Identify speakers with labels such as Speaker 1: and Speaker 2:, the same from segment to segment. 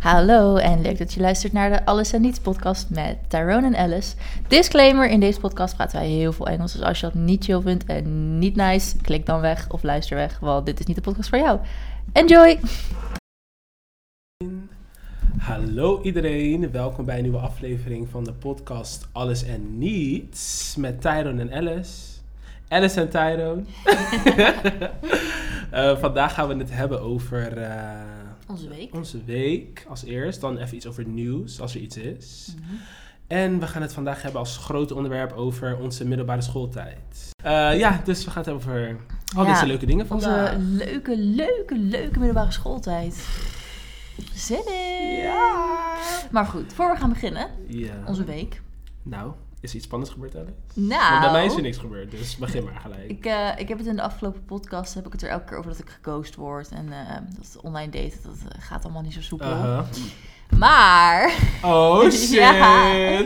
Speaker 1: Hallo en leuk dat je luistert naar de Alles en Niets podcast met Tyrone en Alice. Disclaimer, in deze podcast praten wij heel veel Engels. Dus als je dat niet chill vindt en niet nice, klik dan weg of luister weg. Want dit is niet de podcast voor jou. Enjoy!
Speaker 2: Hallo iedereen, welkom bij een nieuwe aflevering van de podcast Alles en Niets met Tyrone en Alice. Alice en Tyrone. Eh, vandaag gaan we het hebben over eh,
Speaker 3: Onze week.
Speaker 2: onze week als eerst. Dan even iets over nieuws, als er iets is.
Speaker 1: Mhm.
Speaker 2: En we gaan het vandaag hebben als groot onderwerp over onze middelbare schooltijd. Eh, ja, dus we gaan het hebben over al
Speaker 1: Ja,
Speaker 2: deze leuke dingen vandaag.
Speaker 1: Onze leuke, leuke, leuke middelbare schooltijd. Zin in!
Speaker 2: Ja.
Speaker 1: Maar goed, voor we gaan beginnen,
Speaker 2: Ja.
Speaker 1: onze week.
Speaker 2: Nou, is er iets spannends gebeurd Alice?
Speaker 1: Nou,
Speaker 2: Want bij mij is er niks gebeurd, dus begin maar gelijk.
Speaker 1: Ik, eh, ik heb het in de afgelopen podcast heb ik het er elke keer over dat ik geghost word. En eh, dat online daten, dat eh, gaat allemaal niet zo soepel.
Speaker 2: Uh-huh.
Speaker 1: Maar,
Speaker 2: Oh shit!
Speaker 1: Ja.
Speaker 2: ja.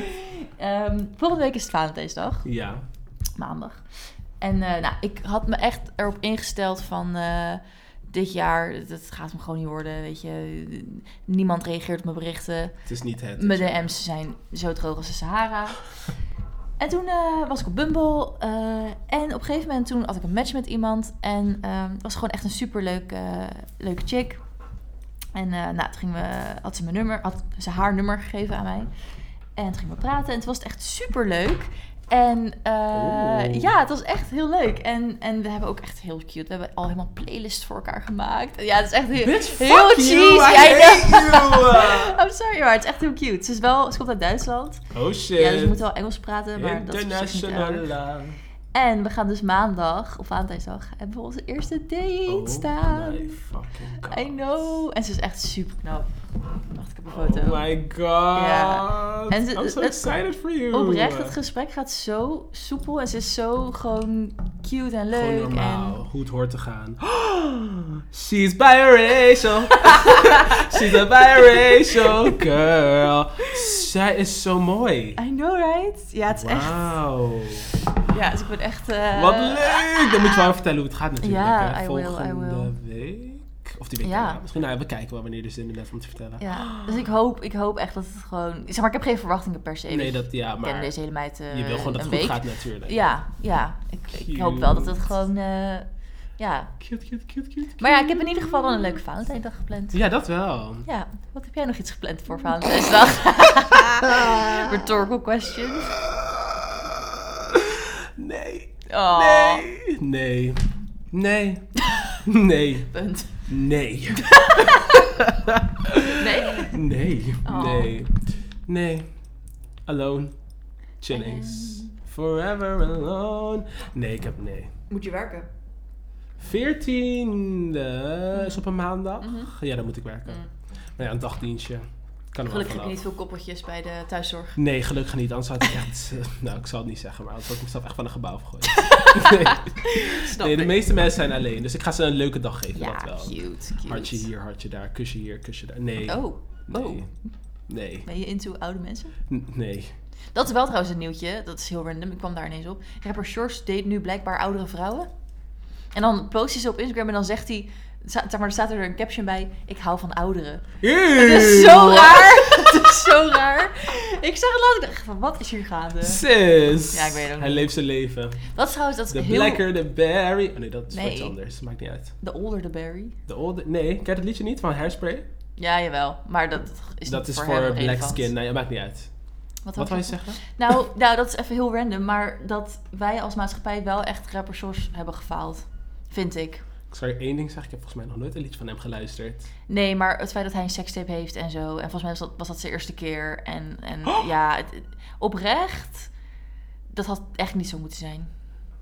Speaker 1: ehm, volgende week is het Valentijnsdag, maandag. En eh, nou, ik had me echt erop ingesteld van eh, dit jaar, dat gaat me gewoon niet worden, weet je. Niemand reageert op mijn berichten.
Speaker 2: het is niet het.
Speaker 1: Mijn DM's zijn zo droog als de Sahara. En toen eh, was ik op Bumble. eh, en op een gegeven moment toen had ik een match met iemand. En ehm, het was gewoon echt een superleuke eh, leuke chick. En eh, nou, toen ging we, had, ze mijn nummer, had ze haar nummer gegeven aan mij. En toen gingen we praten. En toen was het echt superleuk. En eh,
Speaker 2: Oeh.
Speaker 1: ja, het was echt heel leuk. En, en we hebben ook echt heel cute. We hebben al helemaal playlists voor elkaar gemaakt. Ja, het is echt heel,
Speaker 2: Bitch,
Speaker 1: heel
Speaker 2: fuck
Speaker 1: cheesy.
Speaker 2: you,
Speaker 1: I
Speaker 2: I
Speaker 1: know.
Speaker 2: hate you!
Speaker 1: I'm Oh, sorry, maar het is echt heel cute. Ze, is wel, ze komt uit Duitsland.
Speaker 2: Oh shit!
Speaker 1: Ja, dus we moeten wel Engels praten, maar dat is op zich niet
Speaker 2: International
Speaker 1: erg.
Speaker 2: love.
Speaker 1: En we gaan dus maandag, of Valentijnsdag, hebben we onze eerste date
Speaker 2: Oh
Speaker 1: staan.
Speaker 2: my fucking god.
Speaker 1: I know. En ze is echt super knap. Wacht, ik heb een foto.
Speaker 2: Oh my god!
Speaker 1: Ja. En ze-
Speaker 2: I'm so
Speaker 1: het-
Speaker 2: excited for you!
Speaker 1: Oprecht, het gesprek gaat zo soepel en ze is zo gewoon cute en
Speaker 2: Gewoon
Speaker 1: leuk.
Speaker 2: normaal,
Speaker 1: En...
Speaker 2: hoe het hoort te gaan. She's biracial. She's a biracial girl. Zij is zo mooi.
Speaker 1: I know, right? Ja, het is echt.
Speaker 2: Wauw.
Speaker 1: Ja, dus ik ben echt. eh,
Speaker 2: Wat leuk! Dan moet je wel vertellen hoe het gaat natuurlijk.
Speaker 1: Ja,
Speaker 2: hè.
Speaker 1: I will, I
Speaker 2: Volgende
Speaker 1: will.
Speaker 2: week. Of die week
Speaker 1: Ja.
Speaker 2: daarna. Misschien, nou, we kijken wel wanneer er zin in is om te vertellen.
Speaker 1: Ja, dus ik hoop, ik hoop echt dat het gewoon. Zeg maar, ik heb geen verwachtingen per se. dus-
Speaker 2: Nee, dat, ja,
Speaker 1: Ik ken
Speaker 2: maar
Speaker 1: deze hele meid. eh,
Speaker 2: je wil gewoon dat
Speaker 1: een
Speaker 2: het
Speaker 1: week.
Speaker 2: goed gaat natuurlijk.
Speaker 1: Ja, ja. Ik, ik hoop wel dat het gewoon... eh, ja.
Speaker 2: Cute, cute, cute, cute, cute.
Speaker 1: Maar ja, ik heb in ieder geval wel een leuke Valentijndag gepland.
Speaker 2: Ja, dat wel.
Speaker 1: Ja, wat heb jij nog iets gepland voor Valentijnsdag? Rhetorical question.
Speaker 2: Nee.
Speaker 1: Oh,
Speaker 2: Nee. Nee. Nee. Nee.
Speaker 1: punt.
Speaker 2: Nee.
Speaker 1: Nee?
Speaker 2: Nee.
Speaker 1: Oh.
Speaker 2: Nee. Nee. Alone. Chillings. Forever alone. Nee, ik heb nee.
Speaker 3: Moet je werken?
Speaker 2: 14 is op een maandag.
Speaker 1: Mhm.
Speaker 2: Ja, dan moet ik werken.
Speaker 1: Mm.
Speaker 2: Maar ja, een dagdienstje. Kan er wel
Speaker 1: Gelukkig heb je
Speaker 2: vanaf.
Speaker 1: niet veel koppeltjes bij de thuiszorg.
Speaker 2: Nee, gelukkig niet. Anders had ik echt... eh, nou, ik zal het niet zeggen, maar anders had ik mezelf echt van een gebouw gegooid.
Speaker 1: Snap
Speaker 2: nee, de
Speaker 1: ik.
Speaker 2: meeste mensen zijn alleen. Dus ik ga ze een leuke dag geven,
Speaker 1: Nou, Ja,
Speaker 2: dat wel.
Speaker 1: cute, cute.
Speaker 2: Hartje hier, hartje daar. Kusje hier, kusje daar. Nee.
Speaker 1: Oh,
Speaker 2: Nee.
Speaker 1: oh.
Speaker 2: Nee.
Speaker 1: ben je into oude mensen?
Speaker 2: N- Nee.
Speaker 1: Dat is wel trouwens een nieuwtje. Dat is heel random. Ik kwam daar ineens op. Rapper Shorts date nu blijkbaar oudere vrouwen. En dan post hij ze op Instagram en dan zegt hij... za- Zeg maar, er staat er een caption bij. Ik hou van ouderen. Het is zo
Speaker 2: Eeuw.
Speaker 1: raar. Het is zo raar. Ik zag het later. Ik dacht van, wat is hier gaande?
Speaker 2: Sis.
Speaker 1: Ja, ik weet het ook
Speaker 2: Hij
Speaker 1: niet.
Speaker 2: leeft zijn leven.
Speaker 1: Dat is trouwens, dat is
Speaker 2: The
Speaker 1: heel...
Speaker 2: blacker, the berry. Oh nee, dat is
Speaker 1: Nee.
Speaker 2: iets anders. Maakt niet uit.
Speaker 1: De older the berry.
Speaker 2: The older... Nee, ken je het liedje niet van Hairspray?
Speaker 1: Ja, jawel. Maar dat is
Speaker 2: dat
Speaker 1: niet
Speaker 2: is
Speaker 1: voor,
Speaker 2: voor,
Speaker 1: hem
Speaker 2: black
Speaker 1: relevant.
Speaker 2: skin. Nee, maakt niet uit.
Speaker 1: Wat,
Speaker 2: Wat
Speaker 1: wil
Speaker 2: wou je zeggen?
Speaker 1: Nou, nou, dat is even heel random. Maar dat wij als maatschappij wel echt rapper Shorts hebben gefaald. Vind ik.
Speaker 2: Ik zou je één ding zeggen. Ik heb volgens mij nog nooit een liedje van hem geluisterd.
Speaker 1: Nee, maar het feit dat hij een sekstape heeft en zo. En volgens mij was dat, was dat zijn eerste keer. En, en
Speaker 2: Oh!
Speaker 1: ja, het- het- oprecht, dat had echt niet zo moeten zijn.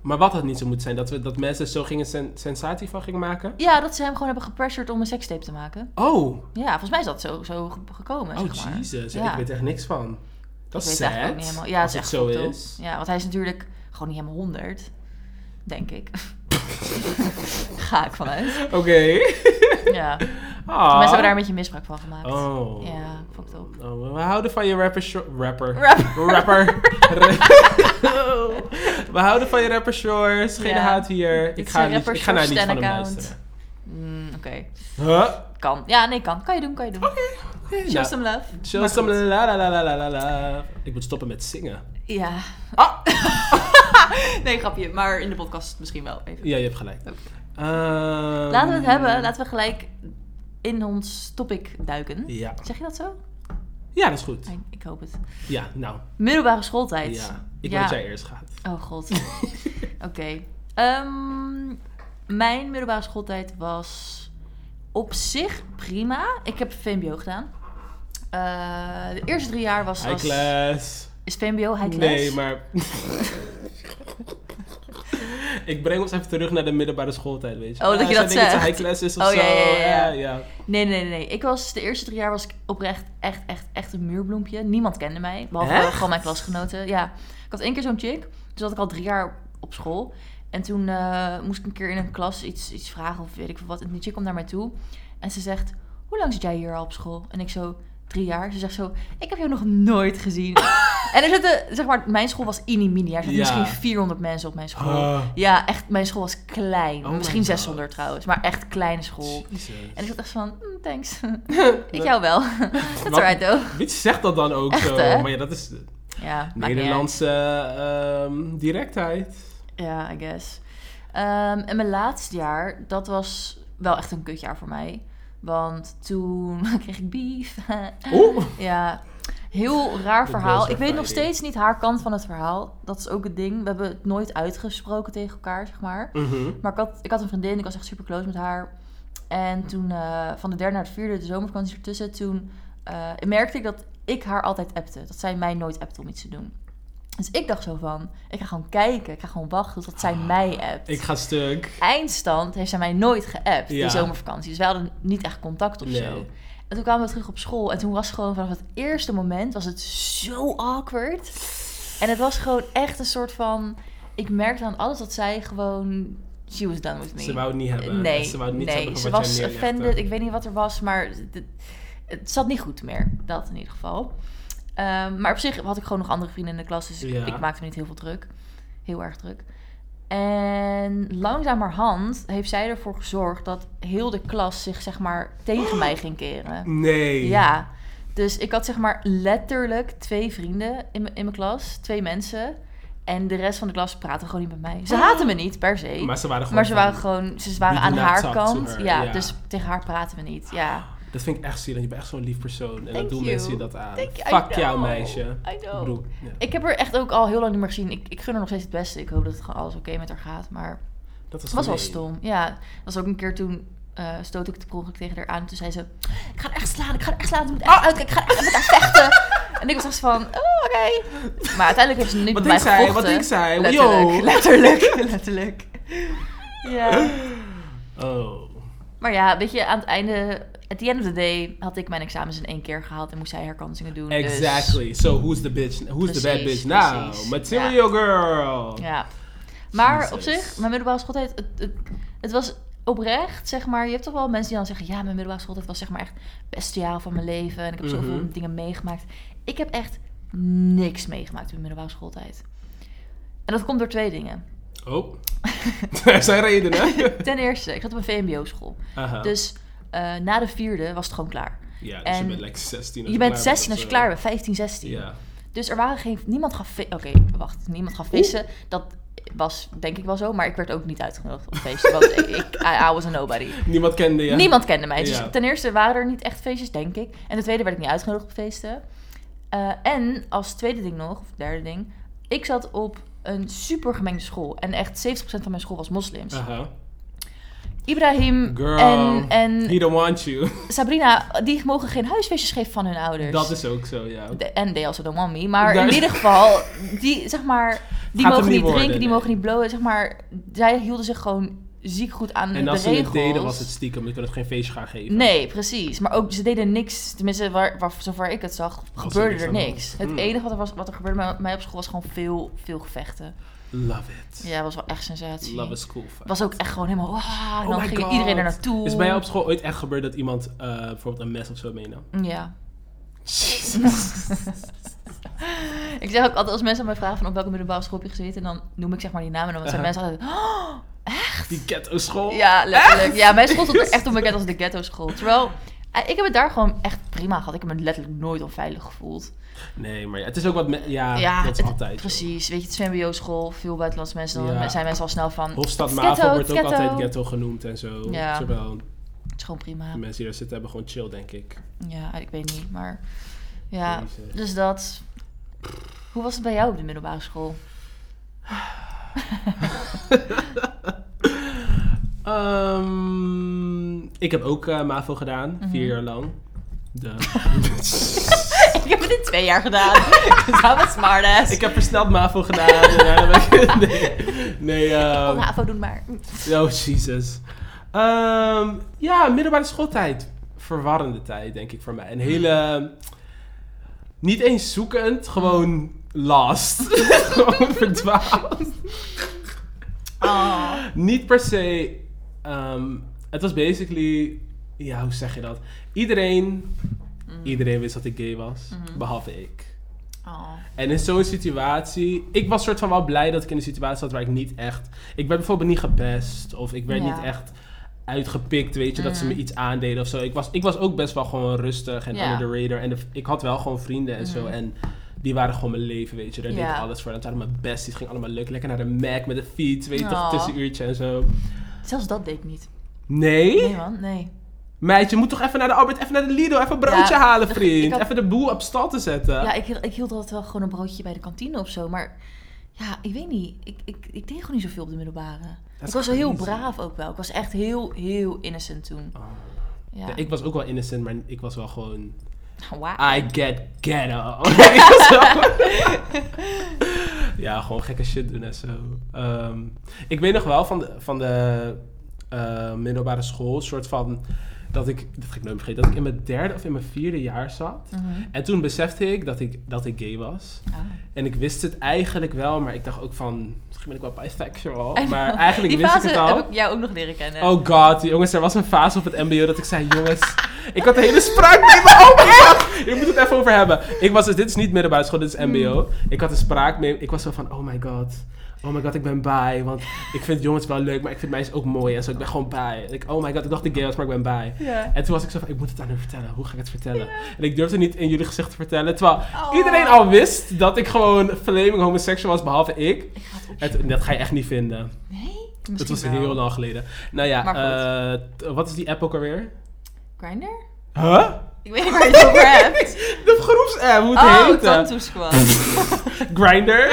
Speaker 2: Maar wat had niet zo moeten zijn? Dat, we, dat mensen zo gingen sen- sensatie van gingen maken?
Speaker 1: Ja, dat ze hem gewoon hebben gepressured om een sekstape te maken.
Speaker 2: Oh,
Speaker 1: Ja, volgens mij is dat zo, zo ge- gekomen.
Speaker 2: oh
Speaker 1: zeg maar.
Speaker 2: Jesus.
Speaker 1: Ja.
Speaker 2: Ik weet echt niks van. Dat
Speaker 1: Ik
Speaker 2: is
Speaker 1: weet
Speaker 2: sad.
Speaker 1: eigenlijk ook niet helemaal. Ja,
Speaker 2: als
Speaker 1: het
Speaker 2: het
Speaker 1: is
Speaker 2: zo
Speaker 1: echt goed,
Speaker 2: is.
Speaker 1: toch? Ja, want hij is natuurlijk gewoon niet helemaal 100, denk ik. Ga ik vanuit.
Speaker 2: Oké.
Speaker 1: Ja. Mensen
Speaker 2: Ah.
Speaker 1: hebben daar een beetje misbruik van gemaakt.
Speaker 2: Oh.
Speaker 1: Ja, fucked up.
Speaker 2: Oh, we houden van je rapper... shor- Rapper.
Speaker 1: Rapper.
Speaker 2: Rapper. we houden van je rapper shorts. Geen
Speaker 1: Ja.
Speaker 2: haat hier.
Speaker 1: Dit
Speaker 2: Ik
Speaker 1: is
Speaker 2: ga,
Speaker 1: een
Speaker 2: niet,
Speaker 1: rapper
Speaker 2: ik ga naar
Speaker 1: shorts
Speaker 2: niet van hem
Speaker 1: stan-account.
Speaker 2: luisteren.
Speaker 1: Mm, Oké.
Speaker 2: Huh?
Speaker 1: Kan. Ja, nee, kan. Kan je doen, kan je doen.
Speaker 2: Hey,
Speaker 1: Show
Speaker 2: nou,
Speaker 1: some love.
Speaker 2: show
Speaker 1: Maar
Speaker 2: some
Speaker 1: goed.
Speaker 2: la la la la la la la. Ik moet stoppen met zingen.
Speaker 1: Ja.
Speaker 2: Ah!
Speaker 1: Nee, grapje. Maar in de podcast misschien wel even.
Speaker 2: Ja, je hebt gelijk.
Speaker 1: Oké.
Speaker 2: Ehm,
Speaker 1: Laten we het hebben. Laten we gelijk in ons topic duiken.
Speaker 2: Ja.
Speaker 1: Zeg je dat zo?
Speaker 2: ja, dat is goed.
Speaker 1: Nee, Ik hoop het.
Speaker 2: Ja, nou.
Speaker 1: Middelbare schooltijd.
Speaker 2: Ja. Ik
Speaker 1: Ja.
Speaker 2: weet dat jij eerst gaat.
Speaker 1: Oh god. Oké. Ehm, mijn middelbare schooltijd was op zich prima. Ik heb VMBO gedaan. Eh, de eerste drie jaar was...
Speaker 2: High
Speaker 1: was-
Speaker 2: class.
Speaker 1: Is VMBO high class?
Speaker 2: Nee, maar... ik breng ons even terug naar de middelbare schooltijd, weet je.
Speaker 1: Oh, dat
Speaker 2: Ah,
Speaker 1: je
Speaker 2: zij
Speaker 1: dat
Speaker 2: denken het
Speaker 1: zegt.
Speaker 2: high class is of
Speaker 1: Oh,
Speaker 2: zo.
Speaker 1: ja, ja, ja, ja.
Speaker 2: ja.
Speaker 1: Nee, nee, nee, nee. Ik was de eerste drie jaar was ik oprecht echt, echt, echt een muurbloempje. Niemand kende mij, behalve wel
Speaker 2: Echt?
Speaker 1: gewoon mijn klasgenoten. Ja, ik had één keer zo'n chick. Toen zat ik al drie jaar op school. En toen eh, moest ik een keer in een klas iets, iets vragen of weet ik veel wat. En die chick kwam naar mij toe. En ze zegt, hoe lang zit jij hier al op school? En ik zo, drie jaar. Ze zegt zo, ik heb jou nog nooit gezien. en er zitten, zeg maar, mijn school was inimini. Er zitten
Speaker 2: Ja.
Speaker 1: misschien 400 mensen op mijn school.
Speaker 2: Ah.
Speaker 1: Ja, echt, mijn school was klein.
Speaker 2: Oh my
Speaker 1: misschien
Speaker 2: God.
Speaker 1: 600 trouwens, maar echt kleine school.
Speaker 2: Jezus.
Speaker 1: En ik zat echt van, "Mm, thanks. ik jou wel. That's
Speaker 2: Wat?
Speaker 1: alright though.
Speaker 2: Wie zegt dat dan ook
Speaker 1: Echt,
Speaker 2: zo?
Speaker 1: hè?
Speaker 2: Maar ja, dat is
Speaker 1: Ja, maakt niet uit.
Speaker 2: Nederlandse ehm, directheid.
Speaker 1: Ja, I guess. Ehm, en mijn laatste jaar, dat was wel echt een kutjaar voor mij. Want toen kreeg ik beef.
Speaker 2: Oeh!
Speaker 1: ja, heel raar
Speaker 2: Dat
Speaker 1: verhaal.
Speaker 2: was
Speaker 1: Ik weet nog
Speaker 2: ervaring.
Speaker 1: steeds niet haar kant van het verhaal. Dat is ook het ding. We hebben het nooit uitgesproken tegen elkaar, zeg maar.
Speaker 2: Mhm.
Speaker 1: Maar ik had, ik had een vriendin, ik was echt super close met haar. En toen, eh, van de derde naar de vierde, de zomervakantie ertussen, toen eh, merkte ik dat ik haar altijd appte. Dat zij mij nooit appte om iets te doen. Dus ik dacht zo van, ik ga gewoon kijken, ik ga gewoon wachten tot zij mij appt.
Speaker 2: Ah, Ik ga stuk.
Speaker 1: Eindstand heeft zij mij nooit geappt,
Speaker 2: Ja.
Speaker 1: die zomervakantie. Dus wij hadden niet echt contact of
Speaker 2: Nee.
Speaker 1: zo. En toen kwamen we terug op school en toen was gewoon vanaf het eerste moment was het zo awkward. En het was gewoon echt een soort van, ik merkte aan alles dat zij gewoon, she was done with me.
Speaker 2: Ze wou het niet hebben.
Speaker 1: Nee,
Speaker 2: ze wou het niet
Speaker 1: nee,
Speaker 2: hebben van
Speaker 1: ze
Speaker 2: wat
Speaker 1: was
Speaker 2: jij neerlegde.
Speaker 1: offended. Ik weet niet wat er was, maar d- het zat niet goed meer. Dat in ieder geval. Ehm, maar op zich had ik gewoon nog andere vrienden in de klas, dus ik-
Speaker 2: Ja.
Speaker 1: ik maakte me niet heel veel druk. Heel erg druk. En langzamerhand heeft zij ervoor gezorgd dat heel de klas zich zeg maar tegen mij ging keren.
Speaker 2: Nee.
Speaker 1: Ja, dus ik had zeg maar letterlijk twee vrienden in, mijn- in mijn klas, twee mensen. En de rest van de klas praatte gewoon niet met mij. Ze haatten me niet per se.
Speaker 2: Ah. Maar ze waren gewoon.
Speaker 1: Maar ze waren
Speaker 2: van-
Speaker 1: gewoon, ze waren
Speaker 2: We do
Speaker 1: aan
Speaker 2: not
Speaker 1: haar
Speaker 2: talk to
Speaker 1: kant.
Speaker 2: her,
Speaker 1: Ja,
Speaker 2: ja.
Speaker 1: dus tegen haar praten we niet. Ja.
Speaker 2: Dat vind ik echt zielig. Je bent echt zo'n lief persoon. En
Speaker 1: Thank
Speaker 2: dat doen
Speaker 1: you.
Speaker 2: mensen je dat aan.
Speaker 1: Thank you. I
Speaker 2: Fuck jou,
Speaker 1: know.
Speaker 2: meisje.
Speaker 1: I know.
Speaker 2: Ik bedoel, ja.
Speaker 1: Ik heb haar echt ook al heel lang niet meer gezien. Ik, ik gun haar nog steeds het beste. Ik hoop dat het gewoon alles oké met haar gaat. Maar
Speaker 2: dat was,
Speaker 1: het was wel
Speaker 2: gemeen.
Speaker 1: stom. Ja, dat was ook een keer toen eh stoot ik de ongeluk tegen haar aan. Toen zei ze, ik ga haar echt slaan, ik ga haar echt slaan. Ik moet
Speaker 2: Ah!
Speaker 1: echt uitkijken, ik ga haar echt met haar vechten. en ik was echt van, oh, oké. Maar uiteindelijk heeft ze niet
Speaker 2: Wat
Speaker 1: met mij
Speaker 2: denkt zij? Wat
Speaker 1: gevochten.
Speaker 2: denkt zij?
Speaker 1: Letterlijk,
Speaker 2: Yo.
Speaker 1: letterlijk, letterlijk. Ja.
Speaker 2: Oh.
Speaker 1: Maar ja, weet je, aan het einde, at the end of the day, had ik mijn examens in één keer gehaald en moest zij herkansingen doen. dus-
Speaker 2: Exactly. So who's the bitch? Who's the bad
Speaker 1: Precies,
Speaker 2: bitch now?
Speaker 1: precies.
Speaker 2: Material girl.
Speaker 1: ja. Maar
Speaker 2: Jezus.
Speaker 1: op zich, mijn middelbare schooltijd, het, het, het was oprecht, zeg maar. Je hebt toch wel mensen die dan zeggen, ja, mijn middelbare schooltijd was zeg maar echt het beste jaar van mijn leven en ik heb zoveel
Speaker 2: Mhm.
Speaker 1: dingen meegemaakt. Ik heb echt niks meegemaakt in mijn middelbare schooltijd. En dat komt door twee dingen.
Speaker 2: Oh. Er zijn redenen. Uh-huh.
Speaker 1: Ten eerste, ik zat op een VMBO-school.
Speaker 2: Aha.
Speaker 1: Dus eh, na de vierde was het gewoon klaar.
Speaker 2: ja, dus je
Speaker 1: en
Speaker 2: bent like 16 als
Speaker 1: Je bent
Speaker 2: klaar
Speaker 1: 16 als je
Speaker 2: of
Speaker 1: klaar
Speaker 2: zo.
Speaker 1: bent, 15, 16.
Speaker 2: Ja.
Speaker 1: Dus er waren geen... Niemand gaf... vi- Oké, wacht. Niemand gaf vissen. Dat was denk ik wel zo. Maar ik werd ook niet uitgenodigd op feesten. want ik, I, I was a nobody.
Speaker 2: Niemand kende je.
Speaker 1: Niemand kende mij. Dus
Speaker 2: Ja.
Speaker 1: ten eerste waren er niet echt feestjes, denk ik. En ten tweede werd ik niet uitgenodigd op feesten. Eh, en als tweede ding nog, of derde ding... Ik zat op een super gemengde school. En echt 70% van mijn school was moslims.
Speaker 2: Aha.
Speaker 1: Ibrahim
Speaker 2: Ah. Girl.
Speaker 1: en, en
Speaker 2: He don't want you.
Speaker 1: Sabrina, die mogen geen huisfeestjes geven van hun ouders.
Speaker 2: Dat is ook zo, ja.
Speaker 1: De- en they also don't want me. Maar
Speaker 2: Daar-
Speaker 1: in ieder geval, die, zeg maar, die
Speaker 2: Gaat
Speaker 1: mogen
Speaker 2: hem niet
Speaker 1: niet
Speaker 2: worden,
Speaker 1: drinken, die
Speaker 2: nee.
Speaker 1: mogen niet blowen. Zeg maar, zij hielden zich gewoon ziek goed aan
Speaker 2: En
Speaker 1: Mhm. de
Speaker 2: als ze
Speaker 1: regels.
Speaker 2: het deden, was het stiekem. Je kon het geen feestje gaan geven.
Speaker 1: Nee, precies. Maar ook, ze deden niks. Tenminste, waar, waar, zover ik het zag, gebeurde er
Speaker 2: niks aan de hand.
Speaker 1: niks. Het
Speaker 2: Hmm.
Speaker 1: enige wat er, was, wat er gebeurde bij mij op school was gewoon veel, veel gevechten.
Speaker 2: Love it.
Speaker 1: Ja, dat was wel echt sensatie.
Speaker 2: Love is cool. fact.
Speaker 1: was ook echt gewoon helemaal... "Wah", en
Speaker 2: Oh
Speaker 1: dan
Speaker 2: my
Speaker 1: ging
Speaker 2: God.
Speaker 1: iedereen er naartoe.
Speaker 2: Is bij jou op school ooit echt gebeurd dat iemand eh, bijvoorbeeld een mes of zo meenam?
Speaker 1: Ja. ik zeg ook altijd als mensen aan mij vragen van op welke middelbare school heb je gezeten, dan noem ik zeg maar die namen en dan zijn
Speaker 2: Aha.
Speaker 1: mensen altijd, oh, echt?
Speaker 2: Die ghetto school.
Speaker 1: Ja, letterlijk. Ja, mijn school stond er echt onbekend als de ghetto school. Terwijl, eh, ik heb het daar gewoon echt prima gehad. Ik heb me letterlijk nooit onveilig gevoeld.
Speaker 2: Nee, maar ja, het is ook wat... me- ja,
Speaker 1: ja,
Speaker 2: dat is
Speaker 1: het-
Speaker 2: altijd zo.
Speaker 1: Precies. Weet je, het is een mbo-school, veel buitenlandse mensen. Dan
Speaker 2: Ja.
Speaker 1: zijn mensen al snel van,
Speaker 2: Hofstad
Speaker 1: het is
Speaker 2: Mavo
Speaker 1: ghetto,
Speaker 2: wordt ook
Speaker 1: het is ghetto.
Speaker 2: altijd ghetto genoemd en zo.
Speaker 1: Ja.
Speaker 2: Terwijl
Speaker 1: het is gewoon prima.
Speaker 2: de mensen die daar zitten hebben gewoon chill, denk ik.
Speaker 1: Ja, ik weet niet, maar... Ja,
Speaker 2: Jezus.
Speaker 1: dus dat... Hoe was het bij jou op de middelbare school?
Speaker 2: Ehm, ik heb ook eh, MAVO gedaan,
Speaker 1: Mhm.
Speaker 2: vier jaar lang. De...
Speaker 1: ik heb het in twee jaar gedaan. Dus hou wat smartass.
Speaker 2: ik heb versneld MAVO gedaan. en daarna ben ik- nee, nee ehm,
Speaker 1: Oh, HAVO doen maar.
Speaker 2: oh Jesus. Ehm, ja, middelbare schooltijd. Verwarrende tijd, denk ik, voor mij. Een hele... Niet eens zoekend, gewoon lost. gewoon verdwaald.
Speaker 1: Oh.
Speaker 2: Niet per se. ehm, het was basically. Ja, hoe zeg je dat? Iedereen, iedereen wist dat ik gay was, behalve ik.
Speaker 1: Oh.
Speaker 2: En in zo'n situatie, ik was soort van wel blij dat ik in een situatie zat waar ik niet echt. Ik werd bijvoorbeeld niet gepest of ik werd
Speaker 1: Ja. Mm.
Speaker 2: niet echt uitgepikt, weet je, dat ze me iets aandeden of zo. Ik was, ik was ook best wel gewoon rustig en
Speaker 1: Ja. Mm.
Speaker 2: under the radar. En de- ik had wel gewoon vrienden en zo. En die waren gewoon mijn leven, weet je. Daar deed
Speaker 1: Ja.
Speaker 2: ik alles voor. Dat waren mijn best. Het ging allemaal leuk. Lekker naar de Mac met de fiets, weet je, toch,
Speaker 1: Aw.
Speaker 2: tussenuurtje en zo.
Speaker 1: Zelfs dat deed ik niet.
Speaker 2: Nee?
Speaker 1: Nee man, nee.
Speaker 2: Meid, je moet toch even naar de Albert, even naar de Lidl, even een broodje
Speaker 1: Ja,
Speaker 2: halen, vriend.
Speaker 1: ik had-
Speaker 2: Even de boel op stal te zetten.
Speaker 1: Ja, ik, ik hield altijd wel gewoon een broodje bij de kantine of zo. Maar ja, ik weet niet. Ik, ik, ik deed gewoon niet zoveel op de middelbare.
Speaker 2: is
Speaker 1: Ik was wel heel
Speaker 2: crazy.
Speaker 1: braaf ook wel. Ik was echt heel, heel innocent toen.
Speaker 2: Oh.
Speaker 1: Ja.
Speaker 2: Ja, ik Ah, was ook wel innocent, maar ik was wel gewoon...
Speaker 1: Wauw. Ah.
Speaker 2: I get ghetto. Ik was wel- ja, gewoon gekke shit doen en zo. Ehm, ik weet nog wel van de, van de eh, middelbare school, soort van... Dat ik, dat ga ik nooit vergeten, dat ik in mijn derde of in mijn vierde jaar zat.
Speaker 1: Mhm.
Speaker 2: En toen besefte ik dat ik, dat ik gay was.
Speaker 1: Ah.
Speaker 2: En ik wist het eigenlijk wel, maar ik dacht ook van, misschien ben ik wel bisexual.
Speaker 1: I know.
Speaker 2: Oh, Maar eigenlijk
Speaker 1: Die
Speaker 2: wist ik
Speaker 1: fase
Speaker 2: het al.
Speaker 1: heb ik jou ook nog leren kennen.
Speaker 2: Oh god, jongens, er was een fase op het mbo dat ik zei, jongens, ik had de hele spraak mee, maar oh my god, je moet het even over hebben. Ik was dus, dit is niet middelbare school, dit is mbo. Ik had een spraak mee, ik was zo van, oh my god, oh my god, ik ben bi, want ik vind jongens wel leuk, maar ik vind meisjes ook mooi en zo, ik ben gewoon bi. Ik, oh my god, ik dacht ik gay was, maar ik ben bi.
Speaker 1: Ja.
Speaker 2: En toen was ik zo van, ik moet het aan hun vertellen, hoe ga ik het vertellen? En ik durfde niet in jullie gezicht te vertellen, terwijl iedereen al wist dat ik gewoon flaming homoseksual was, behalve ik.
Speaker 1: Ik ga het op...
Speaker 2: En toen- dat ga je echt niet vinden.
Speaker 1: Nee?
Speaker 2: Dat
Speaker 1: Misschien
Speaker 2: was
Speaker 1: wel.
Speaker 2: heel lang geleden. Nou ja,
Speaker 1: Maar goed.
Speaker 2: eh, t- wat is die app ook alweer?
Speaker 1: Grindr?
Speaker 2: Huh?
Speaker 1: Ik weet niet waar je het over hebt.
Speaker 2: De groepsapp, hoe het
Speaker 1: Oh,
Speaker 2: heet.
Speaker 1: Tantu Squad.
Speaker 2: Grinder.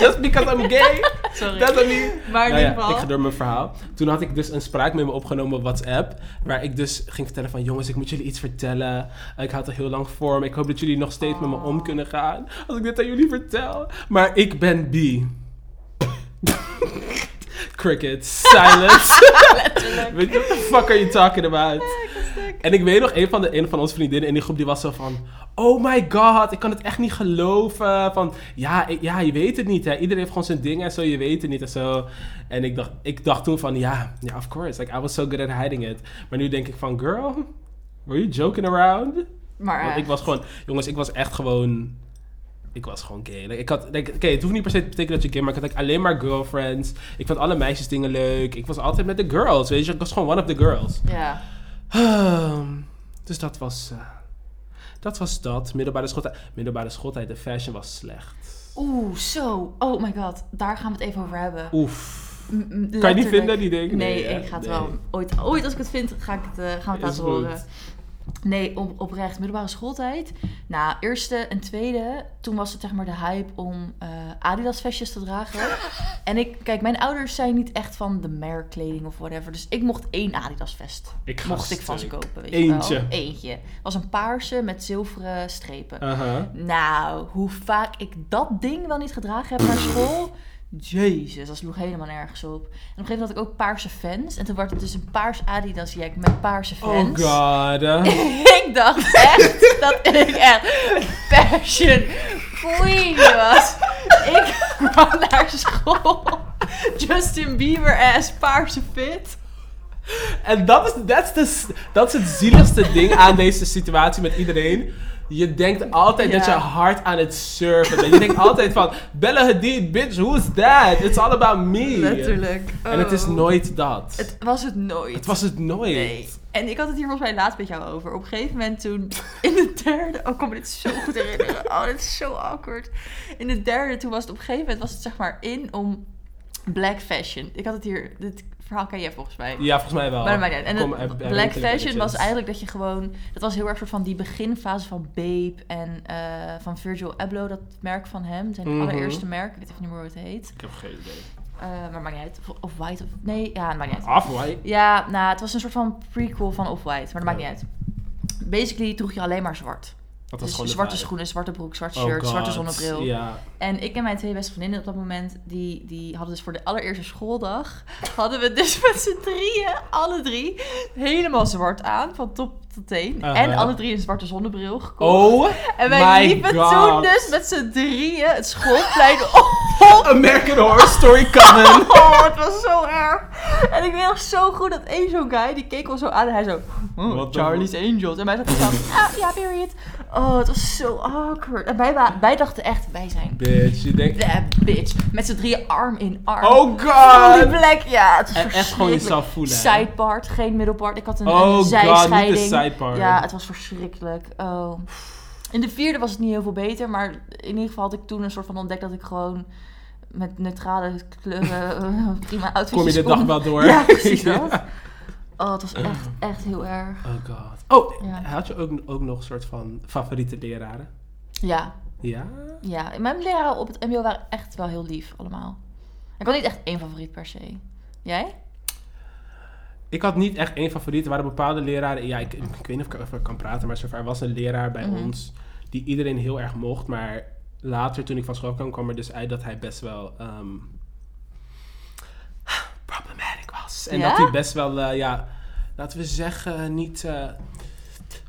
Speaker 2: Just because I'm gay.
Speaker 1: Sorry.
Speaker 2: Dat dan niet.
Speaker 1: Maar in
Speaker 2: Nou ja,
Speaker 1: ieder geval...
Speaker 2: ik ga door mijn verhaal. Toen had ik dus een spraak met me opgenomen op WhatsApp. Waar ik dus ging vertellen van... Jongens, ik moet jullie iets vertellen. Ik had het heel lang voor me. Ik hoop dat jullie nog steeds met me om
Speaker 1: Oh.
Speaker 2: kunnen gaan. Als ik dit aan jullie vertel. Maar ik ben B. Cricket. Silence. Weet je, what the fuck are you talking about? En ik weet nog, een van, de, een van onze vriendinnen in die groep die was zo van... Oh my god, ik kan het echt niet geloven. Van, ja, ik- ja, je weet het niet. Hè. Iedereen heeft gewoon zijn ding en zo, je weet het niet en zo. En ik dacht, ik dacht toen van, ja, ja, of course. Like, I was so good at hiding it. Maar nu denk ik van, girl, were you joking around?
Speaker 1: Maar eh,
Speaker 2: Want ik was gewoon, jongens, ik was echt gewoon. Ik was gewoon gay. Like, ik had, like, oké, het hoeft niet per se te betekenen dat je gay, maar ik had like, alleen maar girlfriends. Ik vond alle meisjes dingen leuk. Ik was altijd met de girls, weet je. Ik was gewoon one of the girls.
Speaker 1: Ja.
Speaker 2: dus dat was, eh, dat was dat. Middelbare schooltijd. Middelbare schooltijd, de fashion was slecht.
Speaker 1: Oeh, zo. Oh my god. Daar gaan we het even over hebben.
Speaker 2: Oef.
Speaker 1: M- m-
Speaker 2: Kan je niet
Speaker 1: letterlijk.
Speaker 2: vinden, die ding?
Speaker 1: Nee,
Speaker 2: hè?
Speaker 1: ik ga het
Speaker 2: Nee.
Speaker 1: wel. Ooit, ooit als ik het vind, ga ik het, eh, gaan we het
Speaker 2: Is
Speaker 1: laten
Speaker 2: goed.
Speaker 1: horen. Nee, op, oprecht. Middelbare schooltijd. Nou, eerste en tweede. Toen was het zeg maar de hype om eh, Adidas vestjes te dragen. en ik, kijk, mijn ouders zijn niet echt van de merkkleding of whatever. Dus ik mocht één Adidas vest.
Speaker 2: Ik ga
Speaker 1: mocht ik van ze
Speaker 2: stuk.
Speaker 1: kopen, weet je
Speaker 2: Eentje.
Speaker 1: wel. Eentje. Was een paarse met zilveren strepen.
Speaker 2: Aha.
Speaker 1: Nou, hoe vaak ik dat ding wel niet gedragen heb naar school. Jezus, dat sloeg helemaal nergens op. En op een gegeven moment had ik ook paarse fans. En toen werd het dus een paars Adidas jack met paarse
Speaker 2: Oh
Speaker 1: fans.
Speaker 2: god. eh.
Speaker 1: ik dacht echt dat ik echt fashion queen was. Ik kwam naar school. Justin Bieber ass paarse fit.
Speaker 2: En dat is, dat, is de, dat is het zieligste ding aan deze situatie met iedereen. Je denkt altijd dat je
Speaker 1: Ja.
Speaker 2: hard aan het surfen bent. Je denkt altijd van, Bella Hadid, bitch, who's that? It's all about me.
Speaker 1: Letterlijk.
Speaker 2: En het is
Speaker 1: Oh.
Speaker 2: nooit dat.
Speaker 1: Het was het nooit.
Speaker 2: Het was het nooit.
Speaker 1: Nee. En ik had het hier volgens mij laatst met jou over. Op een gegeven moment toen, in de derde... Oh, ik kan me dit zo goed herinneren. Oh, dit is zo awkward. In de derde, toen was het op een gegeven moment... was het zeg maar in om black fashion. Ik had het hier... Dit verhaal ken jij volgens mij.
Speaker 2: Ja, volgens mij wel.
Speaker 1: Maar dat maakt niet uit. En
Speaker 2: Kom,
Speaker 1: het-
Speaker 2: eh, eh,
Speaker 1: black
Speaker 2: winkelen
Speaker 1: fashion was
Speaker 2: badges.
Speaker 1: eigenlijk dat je gewoon... Dat was heel erg soort van die beginfase van Babe en eh, van Virgil Abloh. Dat merk van hem. Zijn
Speaker 2: Mhm.
Speaker 1: allereerste merk. Ik weet even niet meer hoe het heet.
Speaker 2: Ik heb geen idee.
Speaker 1: Eh, maar maakt niet uit. Of, of white of... Nee, ja, maakt niet uit.
Speaker 2: Off-white.
Speaker 1: Ja, nou, het was een soort van prequel van Off-White, maar dat maakt
Speaker 2: Ja.
Speaker 1: niet uit. Basically droeg je alleen maar zwart.
Speaker 2: Dat was
Speaker 1: Dus
Speaker 2: gewoon de
Speaker 1: zwarte
Speaker 2: vibe.
Speaker 1: schoenen, zwarte broek, zwart
Speaker 2: Oh
Speaker 1: shirt, zwarte
Speaker 2: God.
Speaker 1: zonnebril.
Speaker 2: Ja.
Speaker 1: En ik en mijn twee beste vriendinnen op dat moment, die, die hadden dus voor de allereerste schooldag, hadden we dus met z'n drieën, alle drie, helemaal zwart aan, van top tot teen.
Speaker 2: Uh-huh.
Speaker 1: En alle drie een zwarte zonnebril gekocht.
Speaker 2: Oh,
Speaker 1: en wij
Speaker 2: my
Speaker 1: liepen
Speaker 2: God.
Speaker 1: toen dus met z'n drieën het schoolplein op.
Speaker 2: Oh, American Horror Story coming.
Speaker 1: Oh, het was zo erg. En ik weet nog zo goed dat één zo'n guy, die keek ons zo aan en hij zo... "Oh,
Speaker 2: What the
Speaker 1: Charlie's Angels. En wij dachten zo... Ah, ja, period. Oh, het was zo awkward. En wij, wa- wij dachten echt, wij zijn...
Speaker 2: Bitch, je denkt...
Speaker 1: de bitch. Met z'n drieën arm in arm.
Speaker 2: Oh
Speaker 1: Van die
Speaker 2: god!
Speaker 1: black, ja, het was
Speaker 2: En echt gewoon jezelf voelen, hè?
Speaker 1: Sidepart, geen middelpart. Ik had een,
Speaker 2: Oh
Speaker 1: een
Speaker 2: god,
Speaker 1: zijscheiding.
Speaker 2: niet de sidepart.
Speaker 1: Ja, het was verschrikkelijk. Oh. In de vierde was het niet heel veel beter, maar in ieder geval had ik toen een soort van ontdekt dat ik gewoon met neutrale kleuren eh, prima outfitjes
Speaker 2: Kom je de
Speaker 1: kon.
Speaker 2: dag wel door?
Speaker 1: Ja, precies dat. Oh, het was echt, echt heel erg.
Speaker 2: Oh god. Oh,
Speaker 1: Ja.
Speaker 2: had je ook, ook nog een soort van favoriete leraren?
Speaker 1: Ja,
Speaker 2: Ja?
Speaker 1: ja. Mijn leraren op het mbo waren echt wel heel lief allemaal. Ik had niet echt één favoriet per se. Jij?
Speaker 2: Ik had niet echt één favoriet. Er waren bepaalde leraren... Ja, ik, ik weet niet of ik erover kan praten, maar zover was een leraar bij
Speaker 1: Mhm.
Speaker 2: ons die iedereen heel erg mocht. Maar later, toen ik van school kwam, kwam er dus uit dat hij best wel... ehm, problematic was. En
Speaker 1: Ja?
Speaker 2: dat hij best wel, eh, ja... Laten we zeggen, niet... eh,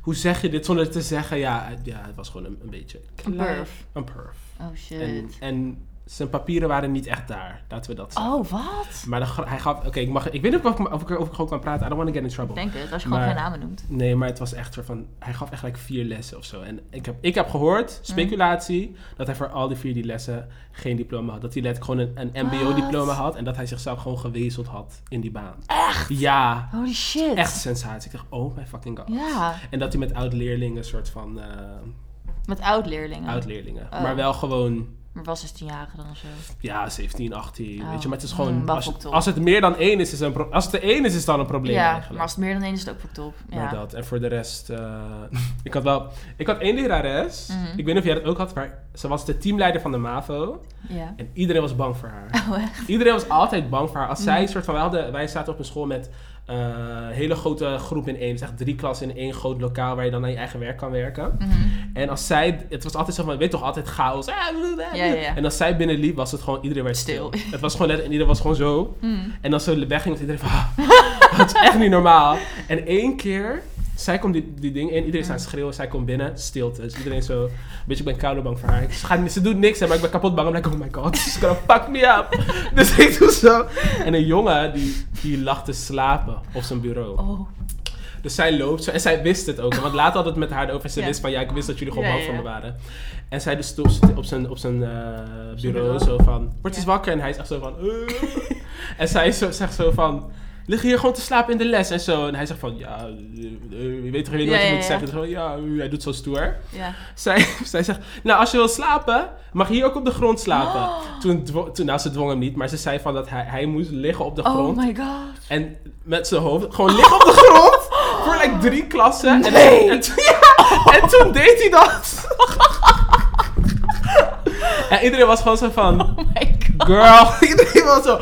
Speaker 2: hoe zeg je dit zonder het te zeggen? Ja, eh, ja het was gewoon een, een beetje...
Speaker 1: Een
Speaker 2: klein.
Speaker 1: perf.
Speaker 2: Een perf.
Speaker 1: Oh
Speaker 2: En,
Speaker 1: shit.
Speaker 2: en zijn papieren waren niet echt daar. Laten we dat zeggen.
Speaker 1: Oh, wat?
Speaker 2: Maar dan gra- hij gaf... Oké, ik mag... Ik weet niet of ik, of, ik, of ik gewoon kan praten. I don't want to get in trouble.
Speaker 1: Ik denk het, als je gewoon
Speaker 2: Maar-
Speaker 1: geen namen noemt.
Speaker 2: Nee, maar het was echt soort van... Hij gaf echt like vier lessen of zo. En ik heb, ik heb
Speaker 1: Mm.
Speaker 2: gehoord, speculatie, dat hij voor al die vier die lessen geen diploma had. Dat hij letterlijk gewoon een, een mbo-diploma
Speaker 1: Wat?
Speaker 2: had. En dat hij zichzelf gewoon gewezeld had in die baan. Echt? Ja.
Speaker 1: Holy shit.
Speaker 2: Echt sensatie. Ik dacht, oh my fucking god.
Speaker 1: Ja,
Speaker 2: En dat hij met oud-leerlingen, soort van eh,
Speaker 1: met oud-leerlingen.
Speaker 2: oud-leerlingen.
Speaker 1: Oh.
Speaker 2: Maar wel gewoon
Speaker 1: maar wel 16 jarigen dan of zo.
Speaker 2: Ja, 17, 18.
Speaker 1: Oh.
Speaker 2: Weet je, maar het is gewoon.
Speaker 1: Hmm,
Speaker 2: als,
Speaker 1: waffle top.
Speaker 2: als het meer dan één is, is een pro- als het er één is, is dan een probleem.
Speaker 1: ja,
Speaker 2: eigenlijk.
Speaker 1: maar als het meer dan één is, is het ook voor top. Ja.
Speaker 2: Maar dat. En voor de rest. eh, ik had wel. Ik had één lerares.
Speaker 1: Mhm.
Speaker 2: Ik weet niet of jij dat ook had, maar ze was de teamleider van de MAVO.
Speaker 1: ja.
Speaker 2: En iedereen was bang voor haar.
Speaker 1: Oh, echt? Mhm.
Speaker 2: Iedereen was altijd bang voor haar. Als zij soort van, wij, hadden, wij zaten op een school met eh, een hele grote groep in één. Dus echt drie klassen in één groot lokaal waar je dan aan je eigen werk kan werken.
Speaker 1: Mhm.
Speaker 2: En als zij, het was altijd zo van, je weet toch, altijd chaos. Ah, blah, blah, blah.
Speaker 1: Ja, ja, ja.
Speaker 2: En als zij binnenliep, was het gewoon, iedereen werd stil.
Speaker 1: Stil.
Speaker 2: het was gewoon net, en iedereen was gewoon zo.
Speaker 1: Mhm.
Speaker 2: En als ze wegging, was iedereen van, ah, dat is echt niet normaal. En één keer, zij komt die, die ding in, iedereen staat schreeuwen, zij komt binnen, stilte. Dus iedereen zo, een beetje, ik ben koude bang voor haar. Ik- Ze, gaat, ze doet niks, hè, maar ik ben kapot bang. I'm like, oh my god, she's gonna fuck me up. dus ik doe zo. En een jongen, die, die lag te slapen op zijn bureau.
Speaker 1: Oh.
Speaker 2: Dus zij loopt zo. En zij wist het ook. Want later had het met haar over. En ze
Speaker 1: Ja.
Speaker 2: wist van, ja, ik wist dat jullie gewoon
Speaker 1: Ja,
Speaker 2: bang
Speaker 1: ja,
Speaker 2: voor me
Speaker 1: ja.
Speaker 2: waren. En zij dus stond op zijn, op zijn eh, bureau
Speaker 1: bureau.
Speaker 2: zo van, word eens
Speaker 1: Ja.
Speaker 2: wakker. En hij is echt zo van, "Eh." En zij zo, zegt zo van, lig je hier gewoon te slapen in de les en zo. En hij zegt van, ja, eh, eh, je weet toch, je weet
Speaker 1: Ja,
Speaker 2: wat je
Speaker 1: ja,
Speaker 2: moet
Speaker 1: ja.
Speaker 2: zeggen. Dus gewoon, ja, eh, hij doet zo stoer.
Speaker 1: Ja.
Speaker 2: Zij, zij zegt, nou, als je wil slapen, mag je hier ook op de grond slapen.
Speaker 1: Oh.
Speaker 2: Toen, dwo- toen, nou, ze dwong hem niet, maar ze zei van dat hij, hij moest liggen op de grond.
Speaker 1: Oh my god.
Speaker 2: En met zijn hoofd gewoon liggen op de grond. Voor like drie klassen. En-
Speaker 1: Nee.
Speaker 2: En, toen- ja, en toen deed hij dat. en iedereen was gewoon zo van...
Speaker 1: Oh my god.
Speaker 2: Girl, iedereen was zo...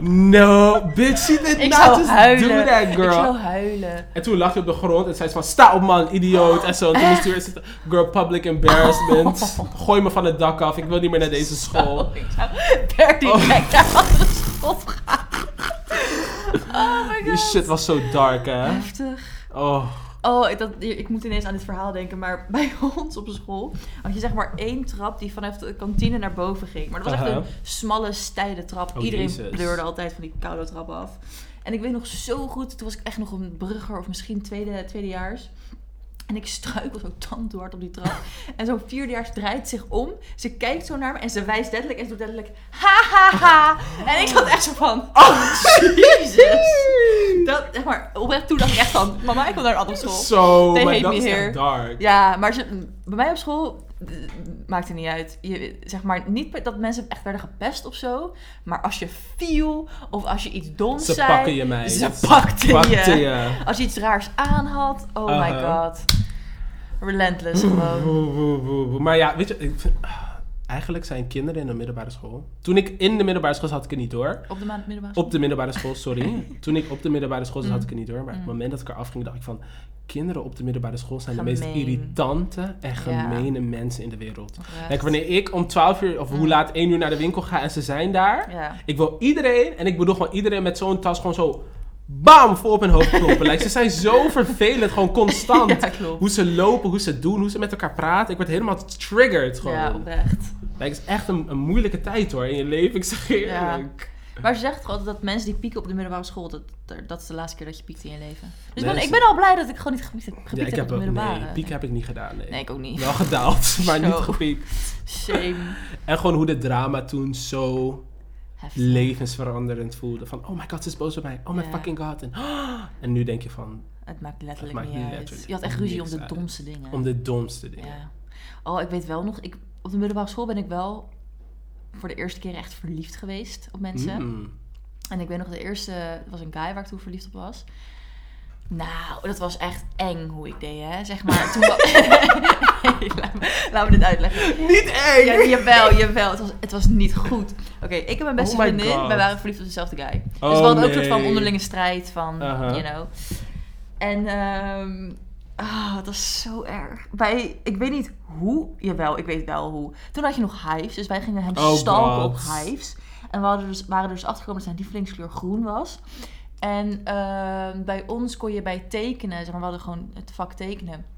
Speaker 2: No, bitch, you did
Speaker 1: Ik
Speaker 2: not
Speaker 1: zou
Speaker 2: just
Speaker 1: huilen.
Speaker 2: do that,
Speaker 1: Ik
Speaker 2: girl.
Speaker 1: zou huilen.
Speaker 2: En toen lag hij op de grond en zei ze van... Sta op, man, idioot. En zo. En toen
Speaker 1: Echt?
Speaker 2: stuurde ze... Girl, public embarrassment. Gooi me van het dak af. Ik wil niet meer naar deze school.
Speaker 1: Oh, Ik zou per
Speaker 2: Oh.
Speaker 1: direct naar de school gaan. Oh my
Speaker 2: Die
Speaker 1: god.
Speaker 2: shit was zo dark, hè.
Speaker 1: Heftig.
Speaker 2: Oh.
Speaker 1: Oh, ik, dat, ik moet ineens aan dit verhaal denken, maar bij ons op school had je zeg maar één trap die vanaf de kantine naar boven ging. Maar dat was echt
Speaker 2: Aha.
Speaker 1: een smalle, steile trap.
Speaker 2: Oh,
Speaker 1: Iedereen
Speaker 2: Jezus.
Speaker 1: pleurde altijd van die koude trap af. En ik weet nog zo goed, toen was ik echt nog een brugger of misschien tweede, tweedejaars. En ik struikel zo tandhard op die trap. En zo'n vierdejaars draait zich om. Ze kijkt zo naar me en ze wijst letterlijk en ze doet letterlijk ha ha ha. En ik zat echt zo van, oh jezus. Dat, zeg maar, oprecht toen dacht ik echt van, mama ik wil naar een andere school.
Speaker 2: Zo,
Speaker 1: They
Speaker 2: maar
Speaker 1: hate
Speaker 2: dat
Speaker 1: me
Speaker 2: is
Speaker 1: here.
Speaker 2: echt dark.
Speaker 1: Ja, maar ze, bij mij op school eh, maakt het niet uit. Je, zeg maar niet per- dat mensen echt werden gepest of zo. Maar als je viel of als je iets doms
Speaker 2: Ze
Speaker 1: zei.
Speaker 2: pakken je mij.
Speaker 1: Ze pakten,
Speaker 2: pakte
Speaker 1: je.
Speaker 2: je.
Speaker 1: Als je iets raars aan had. Oh my
Speaker 2: Uh-huh. Mm-hmm.
Speaker 1: god. Relentless gewoon.
Speaker 2: Woe, woe, woe, woe. Maar ja, weet je, ik vind- Ah, eigenlijk zijn kinderen in de middelbare school. Toen ik in de middelbare school zat, had ik het niet door.
Speaker 1: Op de maand middelbare school.
Speaker 2: Op de middelbare school, sorry. Toen ik op de middelbare school zat, had ik het niet door. Maar op het
Speaker 1: Mm.
Speaker 2: moment dat ik eraf ging, dacht ik van... Kinderen op de middelbare school zijn de meest
Speaker 1: Gemeen.
Speaker 2: irritante en
Speaker 1: Ja.
Speaker 2: gemene mensen in de wereld.
Speaker 1: Oprecht.
Speaker 2: Kijk, wanneer ik om 12 uur of hoe
Speaker 1: Mm.
Speaker 2: laat 1 uur naar de winkel ga en ze zijn daar.
Speaker 1: Ja.
Speaker 2: Ik wil iedereen, en ik bedoel gewoon iedereen met zo'n tas gewoon zo... Bam! Vol op hun hoofd kloppen. like, ze zijn zo vervelend, gewoon constant.
Speaker 1: Ja, klopt.
Speaker 2: Hoe ze lopen, hoe ze doen, hoe ze met elkaar praten. Ik werd helemaal triggered gewoon.
Speaker 1: Ja, oprecht.
Speaker 2: Like, het is echt een, een moeilijke tijd hoor in je leven. Ik zeg je
Speaker 1: Ja.
Speaker 2: eerlijk.
Speaker 1: Maar ze zegt toch altijd dat mensen die pieken op de middelbare school, dat, dat is de laatste keer dat je piekt in je leven. Dus ik ben, ik
Speaker 2: Mensen-
Speaker 1: ben al blij dat ik gewoon niet gepiekt heb, gepiekt
Speaker 2: Ja, ik
Speaker 1: heb op
Speaker 2: heb
Speaker 1: de
Speaker 2: ook,
Speaker 1: middelbare.
Speaker 2: nee, piek heb ik niet gedaan. Nee,
Speaker 1: Nee, ik ook niet.
Speaker 2: wel gedaald, maar niet
Speaker 1: Zo.
Speaker 2: gepiekt.
Speaker 1: Shame.
Speaker 2: En gewoon hoe de drama toen zo
Speaker 1: Heftig.
Speaker 2: levensveranderend voelde. Van, oh my god, ze is boos op mij. Oh my
Speaker 1: Ja.
Speaker 2: fucking god. En, en nu denk je van,
Speaker 1: Het maakt
Speaker 2: Het
Speaker 1: letterlijk
Speaker 2: maakt
Speaker 1: niet
Speaker 2: niet
Speaker 1: uit.
Speaker 2: letterlijk
Speaker 1: je had echt ruzie om
Speaker 2: niks
Speaker 1: de
Speaker 2: uit.
Speaker 1: domste dingen.
Speaker 2: om de domste dingen.
Speaker 1: ja. Oh, ik weet wel nog, ik, op de middelbare school ben ik wel voor de eerste keer echt verliefd geweest op mensen.
Speaker 2: Mm.
Speaker 1: En ik weet nog, de eerste het was een guy waar ik toen verliefd op was. Nou, dat was echt eng hoe ik deed, hè? Zeg maar. Toen wa- Nee, laat, me, laat me dit uitleggen.
Speaker 2: Niet eng!
Speaker 1: Ja, jawel, jawel. Het was, het was niet goed. Oké, ik en mijn beste
Speaker 2: Oh my
Speaker 1: vriendin,
Speaker 2: God.
Speaker 1: wij waren verliefd op dezelfde guy.
Speaker 2: Oh,
Speaker 1: dus we hadden ook een
Speaker 2: nee. Uh-huh.
Speaker 1: soort van onderlinge strijd van,
Speaker 2: Aha.
Speaker 1: you know. En ehm ah, het was zo erg. Wij, ik weet niet hoe, jawel, ik weet wel hoe. Toen had je nog hives, dus wij gingen hem
Speaker 2: Oh
Speaker 1: stalken
Speaker 2: God.
Speaker 1: op hives. En we hadden dus, waren er dus achtergekomen dat zijn lievelingskleur groen was. En ehm, bij ons kon je bij tekenen, zeg maar, we hadden gewoon het vak tekenen.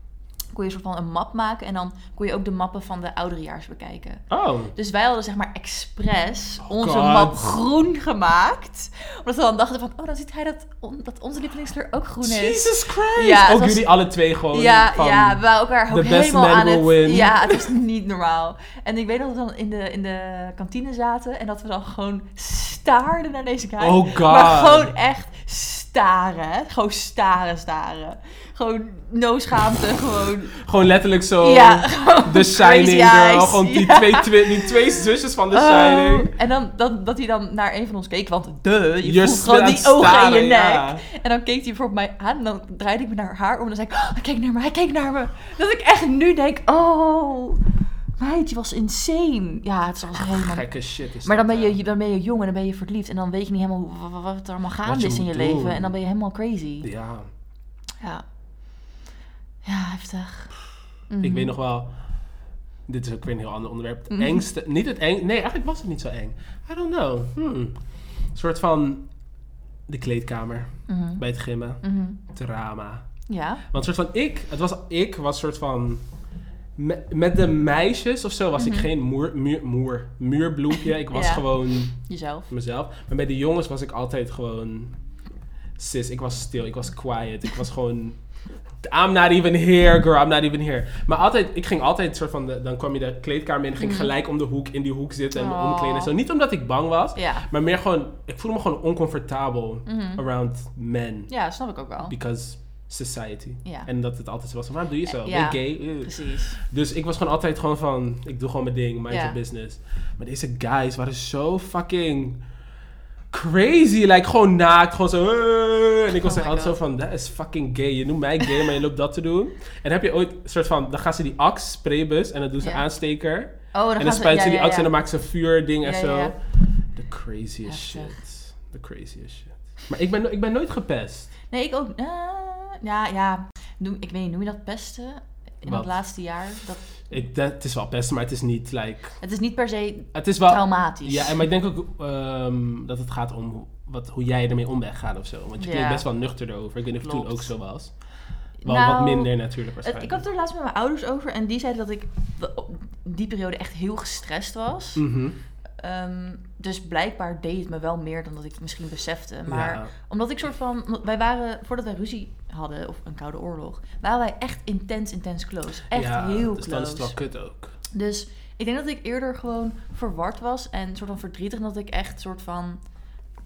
Speaker 1: Kon je een soort van een map maken en dan kon je ook de mappen van de ouderejaars bekijken.
Speaker 2: Oh,
Speaker 1: Dus wij hadden zeg maar expres
Speaker 2: Oh,
Speaker 1: onze
Speaker 2: God.
Speaker 1: map groen gemaakt. Omdat we dan dachten van, oh dan ziet hij dat, on- dat onze lievelingskleur ook groen is.
Speaker 2: Jesus Christ!
Speaker 1: Ja, het
Speaker 2: ook
Speaker 1: was-
Speaker 2: jullie alle twee gewoon
Speaker 1: Ja,
Speaker 2: van...
Speaker 1: ja, we waren elkaar ook
Speaker 2: the best
Speaker 1: helemaal
Speaker 2: man
Speaker 1: aan het...
Speaker 2: will win.
Speaker 1: Ja, het was niet normaal. En ik weet nog dat we dan in de, in de kantine zaten en dat we dan gewoon staarden naar deze guy.
Speaker 2: Oh god.
Speaker 1: Maar gewoon echt staren, hè. Gewoon staren, staren. Gewoon no schaamte, gewoon...
Speaker 2: Gewoon letterlijk zo...
Speaker 1: ja, gewoon
Speaker 2: The Shining,
Speaker 1: crazy
Speaker 2: girl.
Speaker 1: eyes.
Speaker 2: Gewoon die,
Speaker 1: Ja.
Speaker 2: twee, twi- die twee zusjes van The
Speaker 1: Oh,
Speaker 2: Shining.
Speaker 1: En dan, dan dat hij dan naar een van ons keek, want de, je
Speaker 2: You're
Speaker 1: voelt gewoon
Speaker 2: still
Speaker 1: die ogen in je
Speaker 2: staren,
Speaker 1: nek.
Speaker 2: ja.
Speaker 1: En dan keek hij voor mij aan en dan draaide ik me naar haar om en dan zei ik, "Oh, hij keek naar me, hij keek naar me. Dat ik echt nu denk, oh, meid, je was insane. Ja, het was helemaal...
Speaker 2: Gekke shit is
Speaker 1: Maar dan
Speaker 2: dat,
Speaker 1: ben, je,
Speaker 2: hè.
Speaker 1: je- dan ben je jong en dan ben je verliefd en dan weet je niet helemaal hoe- wa- wa- wat er allemaal gaande
Speaker 2: je
Speaker 1: is in je
Speaker 2: moet
Speaker 1: leven.
Speaker 2: doen.
Speaker 1: En dan ben je helemaal crazy.
Speaker 2: Ja,
Speaker 1: Ja. Ja, heftig.
Speaker 2: ik
Speaker 1: Mhm.
Speaker 2: weet nog wel... Dit is ook weer een heel ander onderwerp. Het
Speaker 1: Mhm.
Speaker 2: engste... Niet het eng... Nee, eigenlijk was het niet zo eng. I don't know. Hmm. Een soort van... De kleedkamer.
Speaker 1: Mhm.
Speaker 2: Bij het gimmen.
Speaker 1: Mhm.
Speaker 2: Drama.
Speaker 1: Ja.
Speaker 2: Want soort van ik, het was ik was soort van me- met de meisjes of zo was ik
Speaker 1: Mhm.
Speaker 2: geen moer, muur, moer, muurbloempje. Ik was
Speaker 1: Ja.
Speaker 2: gewoon
Speaker 1: Jezelf.
Speaker 2: mezelf. Maar bij de jongens was ik altijd gewoon sis. Ik was stil, ik was quiet. Ik was gewoon I'm not even here, girl. I'm not even here. Maar altijd, ik ging altijd soort van, de- dan kwam je de kleedkamer in, ging ik
Speaker 1: Mhm.
Speaker 2: gelijk om de hoek in die hoek zitten en me
Speaker 1: Oh.
Speaker 2: omkleden en zo. Niet omdat ik bang was,
Speaker 1: Ja.
Speaker 2: maar meer gewoon, ik voelde me gewoon oncomfortabel
Speaker 1: Mhm.
Speaker 2: around men
Speaker 1: Ja, snap ik ook wel.
Speaker 2: because society.
Speaker 1: Ja.
Speaker 2: En dat het altijd zo was van, waarom doe je zo?
Speaker 1: Ja.
Speaker 2: Ben je gay? Ugh.
Speaker 1: Precies. Oh,
Speaker 2: Dus ik was gewoon altijd gewoon van, ik doe gewoon mijn ding, mind
Speaker 1: Ja.
Speaker 2: your business. Maar deze guys waren zo fucking crazy. Like, gewoon naakt, gewoon zo. "Hey." En ik was
Speaker 1: Oh
Speaker 2: echt
Speaker 1: my God.
Speaker 2: altijd zo van, dat is fucking gay. Je noemt mij gay, maar je loopt dat te doen. En heb je ooit een soort van, dan gaan ze die ax, spraybus, en dan doen ze
Speaker 1: Ja.
Speaker 2: aansteker.
Speaker 1: Oh, dan
Speaker 2: en
Speaker 1: gaan
Speaker 2: dan spuiten ze
Speaker 1: ja,
Speaker 2: die
Speaker 1: ja,
Speaker 2: ax
Speaker 1: ja.
Speaker 2: en dan maken ze een vuurding en
Speaker 1: Ja,
Speaker 2: zo.
Speaker 1: ja, ja.
Speaker 2: The craziest
Speaker 1: Heftig.
Speaker 2: shit. The craziest shit. Maar ik ben, no- ik ben nooit gepest.
Speaker 1: Nee, ik ook. eh, ja, ja. Noem, ik weet niet, noem je dat pesten? In
Speaker 2: Wat?
Speaker 1: het laatste jaar. Dat,
Speaker 2: Ik, dat, het is wel pesten, maar het is niet, like...
Speaker 1: het is niet per se
Speaker 2: Het is wel.
Speaker 1: traumatisch.
Speaker 2: Ja, en maar ik denk ook ehm, dat het gaat om hoe- wat, hoe jij ermee om bent gegaan of zo. Want je klinkt
Speaker 1: Ja.
Speaker 2: best wel nuchter erover. Ik weet niet of het toen
Speaker 1: Klopt.
Speaker 2: ook zo was. Wel
Speaker 1: Nou,
Speaker 2: wat minder natuurlijk
Speaker 1: het- ik
Speaker 2: waarschijnlijk.
Speaker 1: had het er laatst met mijn ouders over en die zeiden dat ik op die periode echt heel gestrest was.
Speaker 2: Mhm.
Speaker 1: Ehm, dus blijkbaar deed het me wel meer dan dat ik het misschien besefte. Maar
Speaker 2: Ja.
Speaker 1: omdat ik soort van... Wij waren, voordat wij ruzie hadden, of een koude oorlog... waren wij echt intens, intens close. Echt
Speaker 2: Ja,
Speaker 1: heel
Speaker 2: Dus dan is
Speaker 1: close.
Speaker 2: het wel kut ook.
Speaker 1: Dus ik denk dat ik eerder gewoon verward was en soort van verdrietig. Dat ik echt soort van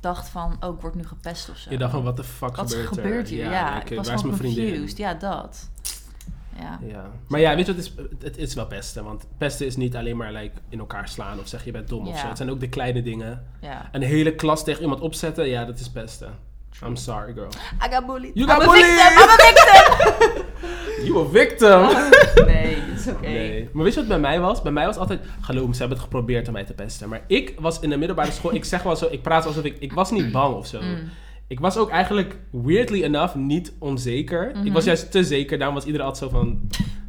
Speaker 1: dacht van, oh, ik word nu gepest of zo.
Speaker 2: Je dacht van, wat de fuck
Speaker 1: Wat
Speaker 2: gebeurt er?
Speaker 1: gebeurt hier? Ja,
Speaker 2: oké,
Speaker 1: ik was
Speaker 2: waar is
Speaker 1: gewoon
Speaker 2: mijn vriendin?
Speaker 1: confused. Ja, dat. Ja.
Speaker 2: Ja. Maar ja, weet je wat, het is, het is wel pesten. Want pesten is niet alleen maar like, in elkaar slaan of zeggen je bent dom of
Speaker 1: Ja.
Speaker 2: zo. Het zijn ook de kleine dingen.
Speaker 1: ja.
Speaker 2: Een hele klas tegen iemand opzetten, ja, dat is pesten. I'm sorry, girl.
Speaker 1: I got bullied.
Speaker 2: You
Speaker 1: I'm
Speaker 2: got
Speaker 1: a
Speaker 2: bullied!
Speaker 1: victim, I'm a victim!
Speaker 2: You a victim!
Speaker 1: nee, dat is oké.
Speaker 2: Nee. Maar weet je wat bij mij was? Bij mij was altijd, geloof me, ze hebben het geprobeerd om mij te pesten. Maar ik was in de middelbare school, ik zeg wel zo, ik praat alsof ik, ik was niet bang of zo. Ik was ook eigenlijk, weirdly enough, niet onzeker. Ik was juist te zeker, daarom was iedereen altijd zo van,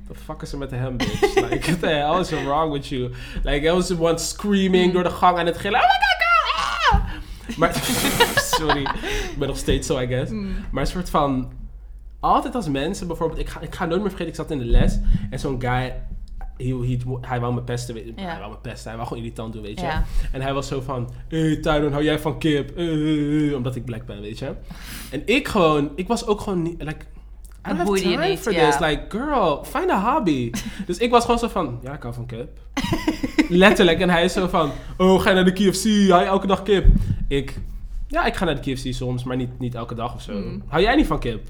Speaker 2: the fuck is er met hem, bitch? Like, what the hell is wrong with you? Like, I was the one screaming door de gang aan het gillen, oh my god, girl, ah! Maar, sorry, ik ben nog steeds zo, I guess.
Speaker 1: Hmm.
Speaker 2: Maar een soort van, altijd als mensen bijvoorbeeld, ik ga, ik ga nooit meer vergeten, ik zat in de les en zo'n guy, he, he, hij wou me pesten, weet,
Speaker 1: Ja.
Speaker 2: hij wou me pesten, hij wou gewoon irritant doen, weet je.
Speaker 1: Ja.
Speaker 2: En hij was zo van, hé hey, Tyron, hou jij van kip? Eh, eh, eh, omdat ik black ben, weet je. En ik gewoon, ik was ook gewoon niet, like, I
Speaker 1: Dat
Speaker 2: don't have
Speaker 1: boeide je
Speaker 2: time
Speaker 1: niet,
Speaker 2: for
Speaker 1: ja.
Speaker 2: this, like, girl, find a hobby. dus ik was gewoon zo van, ja, ik hou van kip. Letterlijk, en hij is zo van, oh, ga je naar de KFC, hou je elke dag kip? Ik, ja, ik ga naar de KFC soms, maar niet, niet elke dag of zo. Hou jij niet van kip?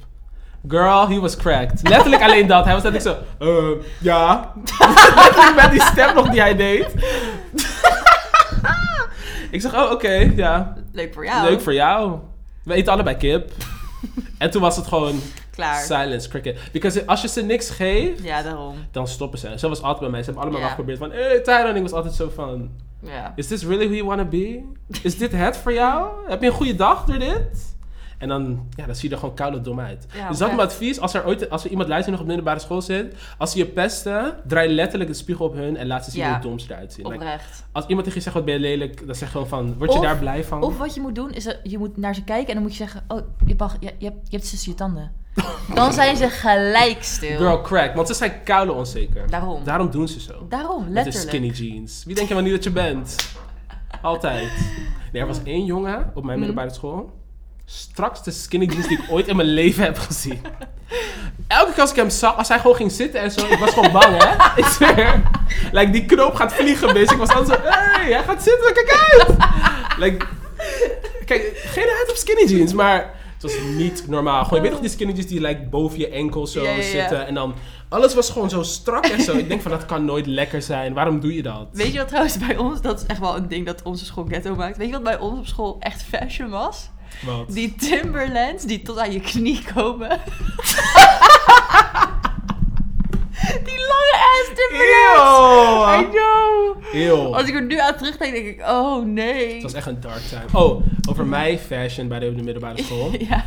Speaker 2: Girl, he was cracked. Letterlijk alleen dat. Hij was letterlijk zo, eh, ja. Letterlijk met die stem nog die hij deed. ik zeg, oh, oké, ja.
Speaker 1: Leuk voor jou.
Speaker 2: Leuk voor jou. We eten allebei kip. en toen was het gewoon
Speaker 1: Klaar.
Speaker 2: silence, cricket. Because als je ze niks geeft,
Speaker 1: ja, daarom.
Speaker 2: dan stoppen ze. Zo was het altijd bij mij. Ze hebben allemaal
Speaker 1: Ja.
Speaker 2: wel geprobeerd van, hé, hey, Tyron. En ik was altijd zo van,
Speaker 1: Ja.
Speaker 2: is this really who you wanna be? Is dit het voor jou? Heb je een goede dag door dit? En dan, ja, dan zie je er gewoon koud en dom uit.
Speaker 1: Ja,
Speaker 2: dus dat is mijn
Speaker 1: oprecht.
Speaker 2: advies. Als er, ooit, als er iemand luistert die nog op de middelbare school zit. Als ze je pesten, draai letterlijk de spiegel op hun en laat ze zien
Speaker 1: Ja.
Speaker 2: hoe dom ze eruit zien. Like,
Speaker 1: Oprecht.
Speaker 2: als iemand tegen je zegt, wat ben je lelijk? Dan zeg gewoon van, word je
Speaker 1: Of-
Speaker 2: daar blij van?
Speaker 1: Of wat je moet doen, is dat je moet naar ze kijken en dan moet je zeggen... Oh, je, mag, je, je, hebt, je hebt tussen je tanden. Dan zijn ze gelijk stil.
Speaker 2: Girl, crack. Want ze zijn koude onzeker.
Speaker 1: Daarom.
Speaker 2: Daarom doen ze zo.
Speaker 1: Daarom,
Speaker 2: Met hun
Speaker 1: Oh, letterlijk.
Speaker 2: skinny jeans. Wie denk je wel niet dat je bent? Altijd. Nee, er was
Speaker 1: Oh.
Speaker 2: één jongen op
Speaker 1: Mhm.
Speaker 2: mijn middelbare school. Straks de skinny jeans die ik ooit in mijn leven heb gezien. Elke keer als ik hem zag, als hij gewoon ging zitten en zo, ik was gewoon bang, hè? Ik zweer. Like, die knoop gaat vliegen, bitch. Ik was altijd zo, hey, hij gaat zitten, kijk uit! Like, kijk, geen uit op skinny jeans, maar het was niet normaal. Gewoon, je weet toch die skinny jeans die like, boven je enkel zo
Speaker 1: Ja, ja, ja.
Speaker 2: zitten en dan... Alles was gewoon zo strak en zo. Ik denk van, dat kan nooit lekker zijn. Waarom doe je dat?
Speaker 1: Weet je wat trouwens bij ons, dat is echt wel een ding dat onze school ghetto maakt. Weet je wat bij ons op school echt fashion was?
Speaker 2: Wat?
Speaker 1: Die Timberlands die tot aan je knie komen. die lange ass Timberlands. I
Speaker 2: Eeuw!
Speaker 1: know.
Speaker 2: Eeuw.
Speaker 1: Als ik er nu aan terugdenk, denk ik, oh nee.
Speaker 2: Het was echt een dark time. Oh, over mij fashion bij de, op de middelbare school.
Speaker 1: ja.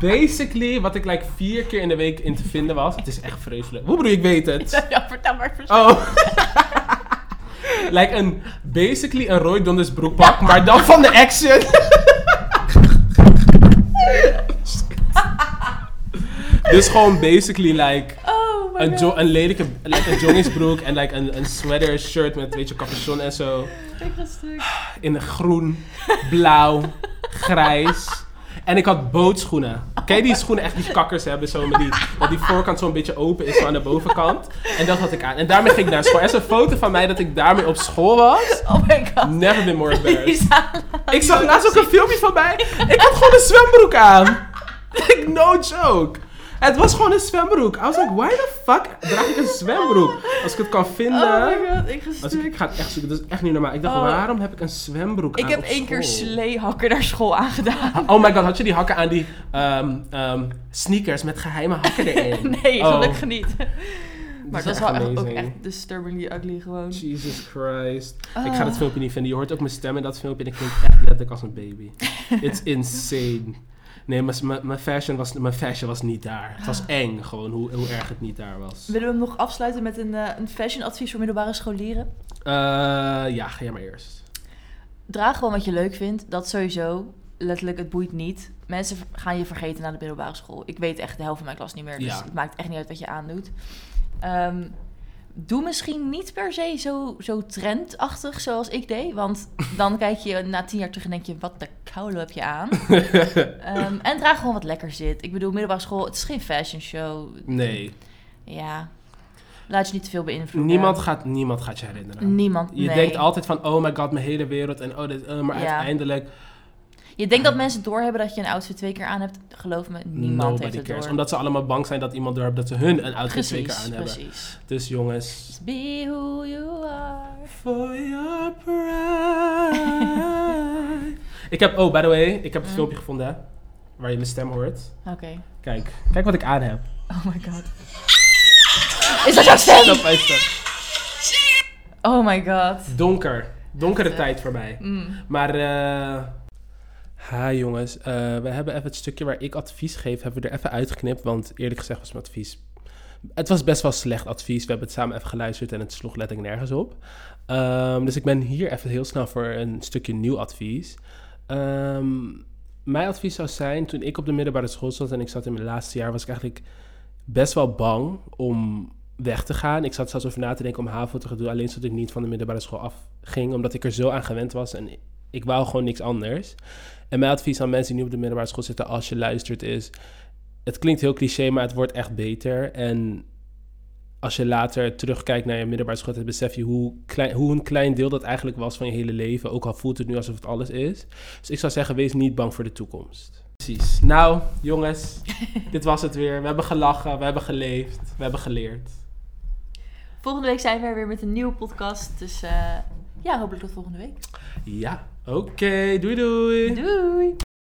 Speaker 2: Basically, wat ik like vier keer in de week in te vinden was. Het is echt vreselijk. Hoe bedoel je, ik weet het?
Speaker 1: ja, vertel maar vers-
Speaker 2: Oh. like een, basically een Roy Donders broekpak, maar dan van de action. dus gewoon basically like
Speaker 1: Oh my
Speaker 2: een,
Speaker 1: god.
Speaker 2: jo- een lelijke like een jongensbroek en like een, een sweater shirt met een beetje capuchon en zo.
Speaker 1: Ik ga stuk.
Speaker 2: In een groen, blauw, grijs. En ik had bootschoenen. Ken je die schoenen echt die kakkers hebben? Zo met die, dat die voorkant zo'n beetje open is aan de bovenkant. En dat had ik aan. En daarmee ging ik naar school. Er is een foto van mij dat ik daarmee op school was.
Speaker 1: Oh my god.
Speaker 2: Never been more embarrassed.
Speaker 1: Lisa.
Speaker 2: Ik zag laatst ook een filmpje van mij. Ik had gewoon een zwembroek aan. Like, no joke. Het was gewoon een zwembroek. I was like, why the fuck draag ik een zwembroek? Als ik het kan vinden.
Speaker 1: Oh my god, ik ga
Speaker 2: Als ik,
Speaker 1: stuk.
Speaker 2: ik ga het echt zoeken, dat is echt niet normaal. Ik dacht,
Speaker 1: Oh.
Speaker 2: waarom heb ik een zwembroek
Speaker 1: Ik
Speaker 2: aan
Speaker 1: heb
Speaker 2: op
Speaker 1: één keer
Speaker 2: school?
Speaker 1: sleehakken naar school aangedaan.
Speaker 2: Oh my god, had je die hakken aan die ehm, ehm, sneakers met geheime hakken erin?
Speaker 1: Nee,
Speaker 2: Oh,
Speaker 1: gelukkig niet.
Speaker 2: dit
Speaker 1: Maar
Speaker 2: is
Speaker 1: dat was wel echt- ook
Speaker 2: amazing.
Speaker 1: echt disturbingly ugly gewoon.
Speaker 2: Jesus Christ. Ik ga
Speaker 1: Ah.
Speaker 2: dat filmpje niet vinden. Je hoort ook mijn stem in dat filmpje en ik klink echt letterlijk als een baby. It's insane. Nee, mijn- mijn mijn fashion, was- mijn fashion was niet daar. Het was eng gewoon, hoe, hoe erg het niet daar was.
Speaker 1: Willen we hem nog afsluiten met een, eh, een fashionadvies voor middelbare scholieren?
Speaker 2: Eh, ja, ga jij maar eerst.
Speaker 1: Draag gewoon wat je leuk vindt. Dat sowieso. Letterlijk, het boeit niet. Mensen v- gaan je vergeten na de middelbare school. Ik weet echt de helft van mijn klas niet meer. Dus
Speaker 2: Ja.
Speaker 1: het maakt echt niet uit wat je aandoet. Ehm, doe misschien niet per se zo, zo trendachtig zoals ik deed. Want dan kijk je na tien jaar terug en denk je, wat de koude heb je aan? Ehm, en draag gewoon wat lekker zit. Ik bedoel, middelbare school, het is geen fashion show.
Speaker 2: Nee.
Speaker 1: Ja, laat je niet te veel beïnvloeden.
Speaker 2: Niemand gaat, niemand gaat je herinneren.
Speaker 1: Niemand,
Speaker 2: Je
Speaker 1: nee.
Speaker 2: denkt altijd van, oh my god, mijn hele wereld. En oh, dit, eh, maar
Speaker 1: Ja.
Speaker 2: uiteindelijk,
Speaker 1: Je denkt dat mensen doorhebben dat je een outfit twee keer aan hebt. Geloof me, niemand heeft
Speaker 2: nobody
Speaker 1: het
Speaker 2: cares.
Speaker 1: door.
Speaker 2: Omdat ze allemaal bang zijn dat iemand doorhebt dat ze hun een outfit
Speaker 1: precies,
Speaker 2: twee keer aan hebben.
Speaker 1: precies.
Speaker 2: Dus jongens...
Speaker 1: Just be who you are.
Speaker 2: For your pride. ik heb, oh by the way, ik heb het
Speaker 1: Mm.
Speaker 2: filmpje gevonden hè, waar je mijn stem hoort.
Speaker 1: Oké.
Speaker 2: Kijk, kijk wat ik aan heb.
Speaker 1: Oh my god. Is dat jouw stem?
Speaker 2: Stap bij stap.
Speaker 1: Oh my god.
Speaker 2: Donker. Donkere
Speaker 1: Echt, hè?
Speaker 2: tijd voor mij.
Speaker 1: Mm.
Speaker 2: Maar, eh ha jongens, eh, we hebben even het stukje waar ik advies geef, hebben we er even uitgeknipt. Want eerlijk gezegd was mijn advies. Het was best wel slecht advies. We hebben het samen even geluisterd en het sloeg letterlijk nergens op. Ehm, dus ik ben hier even heel snel voor een stukje nieuw advies. Ehm, mijn advies zou zijn, toen ik op de middelbare school zat en ik zat in mijn laatste jaar, was ik eigenlijk best wel bang om weg te gaan. Ik zat zelfs over na te denken om HAVO te gaan doen, alleen zodat ik niet van de middelbare school afging, omdat ik er zo aan gewend was en ik wou gewoon niks anders. En mijn advies aan mensen die nu op de middelbare school zitten, als je luistert, is: het klinkt heel cliché, maar het wordt echt beter. En als je later terugkijkt naar je middelbare school, dan besef je hoe, klein, hoe een klein deel dat eigenlijk was van je hele leven. Ook al voelt het nu alsof het alles is. Dus ik zou zeggen: wees niet bang voor de toekomst. Precies. Nou, jongens, dit was het weer. We hebben gelachen, we hebben geleefd, we hebben geleerd.
Speaker 1: Volgende week zijn we er weer met een nieuwe podcast. Dus eh, ja, hopelijk tot volgende week.
Speaker 2: Ja, oké. doei doei.
Speaker 1: Doei!